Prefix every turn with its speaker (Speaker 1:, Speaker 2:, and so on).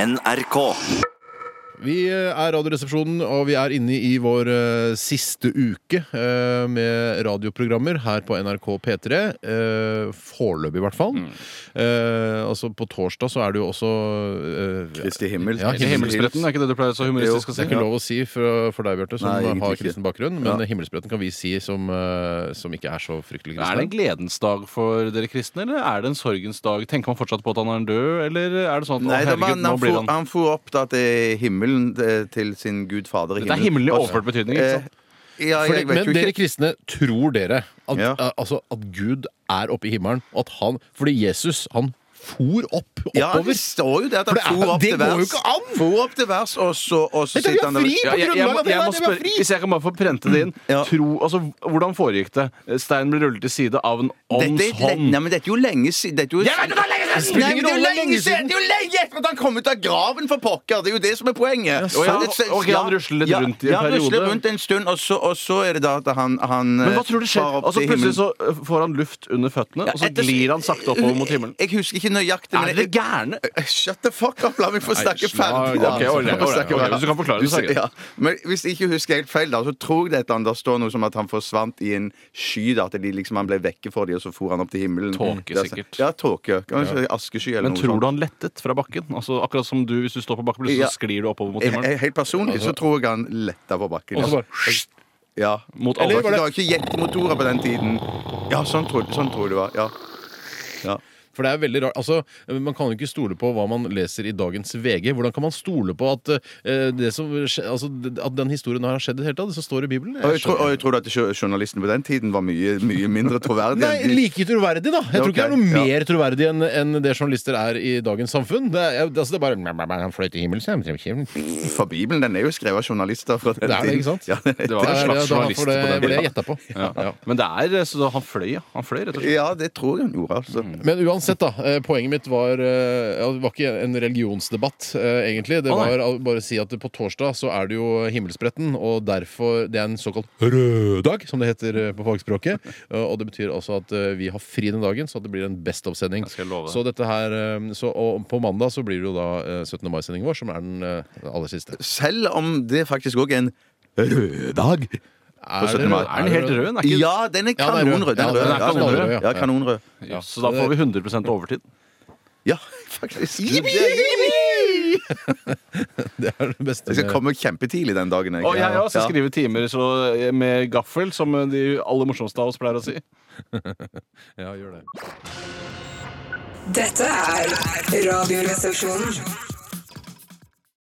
Speaker 1: NRK.
Speaker 2: Vi eh, er Radioresepsjonen, og vi er inne i vår eh, siste uke eh, med radioprogrammer her på NRK P3. eh, Foreløpig, i hvert fall.
Speaker 3: Mm.
Speaker 2: Eh, altså, på torsdag så er det jo også eh,
Speaker 3: Kristi himmel.
Speaker 2: Ja,
Speaker 4: Ikke himmelspretten, er ikke det du pleier så humoristisk å
Speaker 2: Det er
Speaker 4: si?
Speaker 2: ikke lov å si for, for deg, Bjarte, som
Speaker 3: Nei, egentlig
Speaker 2: har
Speaker 3: ikke.
Speaker 2: kristen bakgrunn, men Himmelspretten kan vi si som, eh, som ikke er så fryktelig
Speaker 4: Er det en
Speaker 2: kristne.
Speaker 4: gledens dag for dere kristne, eller er det en sorgens dag? Tenker man fortsatt på at han er død, eller er det sånn at
Speaker 3: Nei,
Speaker 4: å,
Speaker 3: det var,
Speaker 4: herregud, nå
Speaker 3: han,
Speaker 4: blir
Speaker 3: for,
Speaker 4: han
Speaker 3: han for opp da til himmelen eh, til sin gud fader i
Speaker 4: Dette er himmelen i
Speaker 3: Og-
Speaker 4: overført betydning, liksom? ikke sant?
Speaker 3: Eh, ja,
Speaker 2: Fordi,
Speaker 3: jeg vet
Speaker 2: men
Speaker 3: jo
Speaker 2: dere
Speaker 3: ikke.
Speaker 2: kristne, tror dere at,
Speaker 3: Ja.
Speaker 2: eh, altså, at Gud er oppe i himmelen? Og at han, fordi Jesus, han for opp
Speaker 3: Ja,
Speaker 2: oppover.
Speaker 3: det står jo det at
Speaker 2: For
Speaker 3: han
Speaker 2: det er-
Speaker 3: for opp
Speaker 2: det
Speaker 3: til
Speaker 2: går
Speaker 3: vers.
Speaker 2: jo ikke an!
Speaker 3: For opp til vers, og så, og så
Speaker 2: Dette er jo
Speaker 3: sitter han der-
Speaker 2: fri!
Speaker 4: Ja, jeg, jeg,
Speaker 2: på grunnlag
Speaker 4: må-
Speaker 2: av det
Speaker 4: jeg
Speaker 2: der,
Speaker 4: må
Speaker 2: det var
Speaker 4: spørre,
Speaker 2: fri.
Speaker 4: hvis jeg kan bare få prente det inn
Speaker 3: Ja.
Speaker 4: tro, altså, Hvordan foregikk det? Steinen ble rullet til side av en
Speaker 3: Dette
Speaker 4: ånds
Speaker 3: er,
Speaker 4: hånd.
Speaker 3: nei, men dette er jo lenge siden Dette er jo,
Speaker 2: Spiller ingen
Speaker 3: Nei, men det er jo
Speaker 2: rolle,
Speaker 3: lenge
Speaker 2: lenge
Speaker 3: siden! Det er jo lenge etter at han kom ut av graven, for pokker! Det er jo det som er poenget.
Speaker 4: så-
Speaker 3: Ja, det- så-
Speaker 4: ok, han rusler litt
Speaker 3: ja,
Speaker 4: rundt i en
Speaker 3: ja, han rusler
Speaker 4: periode.
Speaker 3: rundt en stund, og så, og så er det da at han, han
Speaker 4: Men
Speaker 3: eh,
Speaker 4: hva tror du
Speaker 3: far
Speaker 4: skjer?
Speaker 3: opp
Speaker 4: Altså,
Speaker 3: til
Speaker 4: plutselig
Speaker 3: himmelen.
Speaker 4: så øh, får han luft under føttene, og så
Speaker 3: etter-
Speaker 4: glir han sakte oppover mot himmelen.
Speaker 3: Jeg husker ikke nøyaktig,
Speaker 4: Er
Speaker 3: men
Speaker 4: dere gærne?
Speaker 3: Shut the fuck up! La meg få snakke
Speaker 2: slag. Ok,
Speaker 3: ferdig.
Speaker 2: ordentlig,
Speaker 3: da. La meg få
Speaker 4: ordentlig,
Speaker 3: snakke
Speaker 4: ok,
Speaker 3: ferdig.
Speaker 4: hvis du kan forklare det, så er det
Speaker 3: ja. Men hvis jeg ikke husker helt feil, da, så tror jeg det at han, der står noe som at han forsvant i en sky. Da, at de, liksom, han ble vekke for dem, og så for han opp til himmelen.
Speaker 4: Tåke,
Speaker 3: Det er så-
Speaker 4: sikkert.
Speaker 3: Ja, tåke. Kanskje askesky eller
Speaker 4: Men
Speaker 3: noe
Speaker 4: tror
Speaker 3: sånt.
Speaker 4: du han lettet fra bakken? Altså, akkurat som du, hvis du står på bakken, plutselig
Speaker 3: Ja.
Speaker 4: så sklir du oppover mot
Speaker 3: Jeg,
Speaker 4: himmelen.
Speaker 3: jeg, helt personlig
Speaker 4: Altså-
Speaker 3: så tror jeg han letta på bakken.
Speaker 2: Og så bare
Speaker 3: Ja.
Speaker 4: Mot
Speaker 3: Eller
Speaker 4: alle.
Speaker 3: var det var ikke jetmotorer på den tiden. Ja, sånn tror, sånn tror jeg det var. Ja. ja.
Speaker 2: For det er veldig rart. Altså, Man kan jo ikke stole på hva man leser i dagens VG. Hvordan kan man stole på at, eh, det som, skje- altså, at den historien har skjedd i det hele tatt? Det som står i Bibelen?
Speaker 3: Og jeg, tror, og jeg tror at jo- journalistene på den tiden var mye, mye mindre troverdige.
Speaker 2: Nei,
Speaker 3: enn de-
Speaker 2: like troverdig, da. Jeg
Speaker 3: Ja,
Speaker 2: tror ikke det er noe
Speaker 3: ok. Ja.
Speaker 2: mer troverdig enn enn det journalister er i dagens samfunn. Det er, altså, det er bare Han fløy til himmelen, så han treffer himmelen.
Speaker 3: For Bibelen den er jo skrevet av journalister fra den
Speaker 2: Det er det,
Speaker 3: tiden.
Speaker 2: ikke sant?
Speaker 3: Ja, det,
Speaker 4: Det var en
Speaker 2: Det er- det
Speaker 4: slags
Speaker 2: er
Speaker 4: journalist
Speaker 2: derfor det-
Speaker 4: på den
Speaker 2: var det jeg
Speaker 4: tiden.
Speaker 2: gjettet på.
Speaker 4: Ja. Men det er, eh, så han fløy, ja. Han fløy, rett og slett.
Speaker 3: ja, det tror jeg han gjorde, altså.
Speaker 2: Men uansett, da. eh, Poenget mitt var eh, ja, Det var ikke en religionsdebatt, eh, egentlig. Det
Speaker 4: Å, nei.
Speaker 2: var å bare si at på torsdag så er det jo himmelspretten, og derfor Det er en såkalt røddag, som det heter eh, på fagspråket. Eh, Og det betyr altså at eh, vi har fri den dagen, så at det blir en Best of-sending.
Speaker 4: Jeg skal love det.
Speaker 2: Så dette her eh, så, Og på mandag så blir det jo da eh, 17. mai-sendingen vår, som er den eh, aller siste.
Speaker 3: Selv om det faktisk òg er en røddag.
Speaker 2: Er
Speaker 3: 17. mai.
Speaker 4: Er den helt rød? Den er ikke...
Speaker 3: Ja, den er
Speaker 2: Ja, den er rød.
Speaker 3: kanonrød. Den er rød.
Speaker 2: Ja, den er
Speaker 3: Ja, den er
Speaker 2: kanonrød,
Speaker 3: rød.
Speaker 2: ja.
Speaker 3: Ja, kanonrød.
Speaker 4: Ja, Så da får vi 100 overtid.
Speaker 3: Ja, faktisk.
Speaker 2: Det er det beste.
Speaker 3: Jeg skal komme kjempetidlig den dagen. jeg.
Speaker 4: Og jeg også skal
Speaker 3: Ja.
Speaker 4: skrive timer så, eh, med gaffel, som de aller morsomste av oss pleier å si.
Speaker 2: Ja, gjør det.
Speaker 5: Dette er Radioresepsjonen.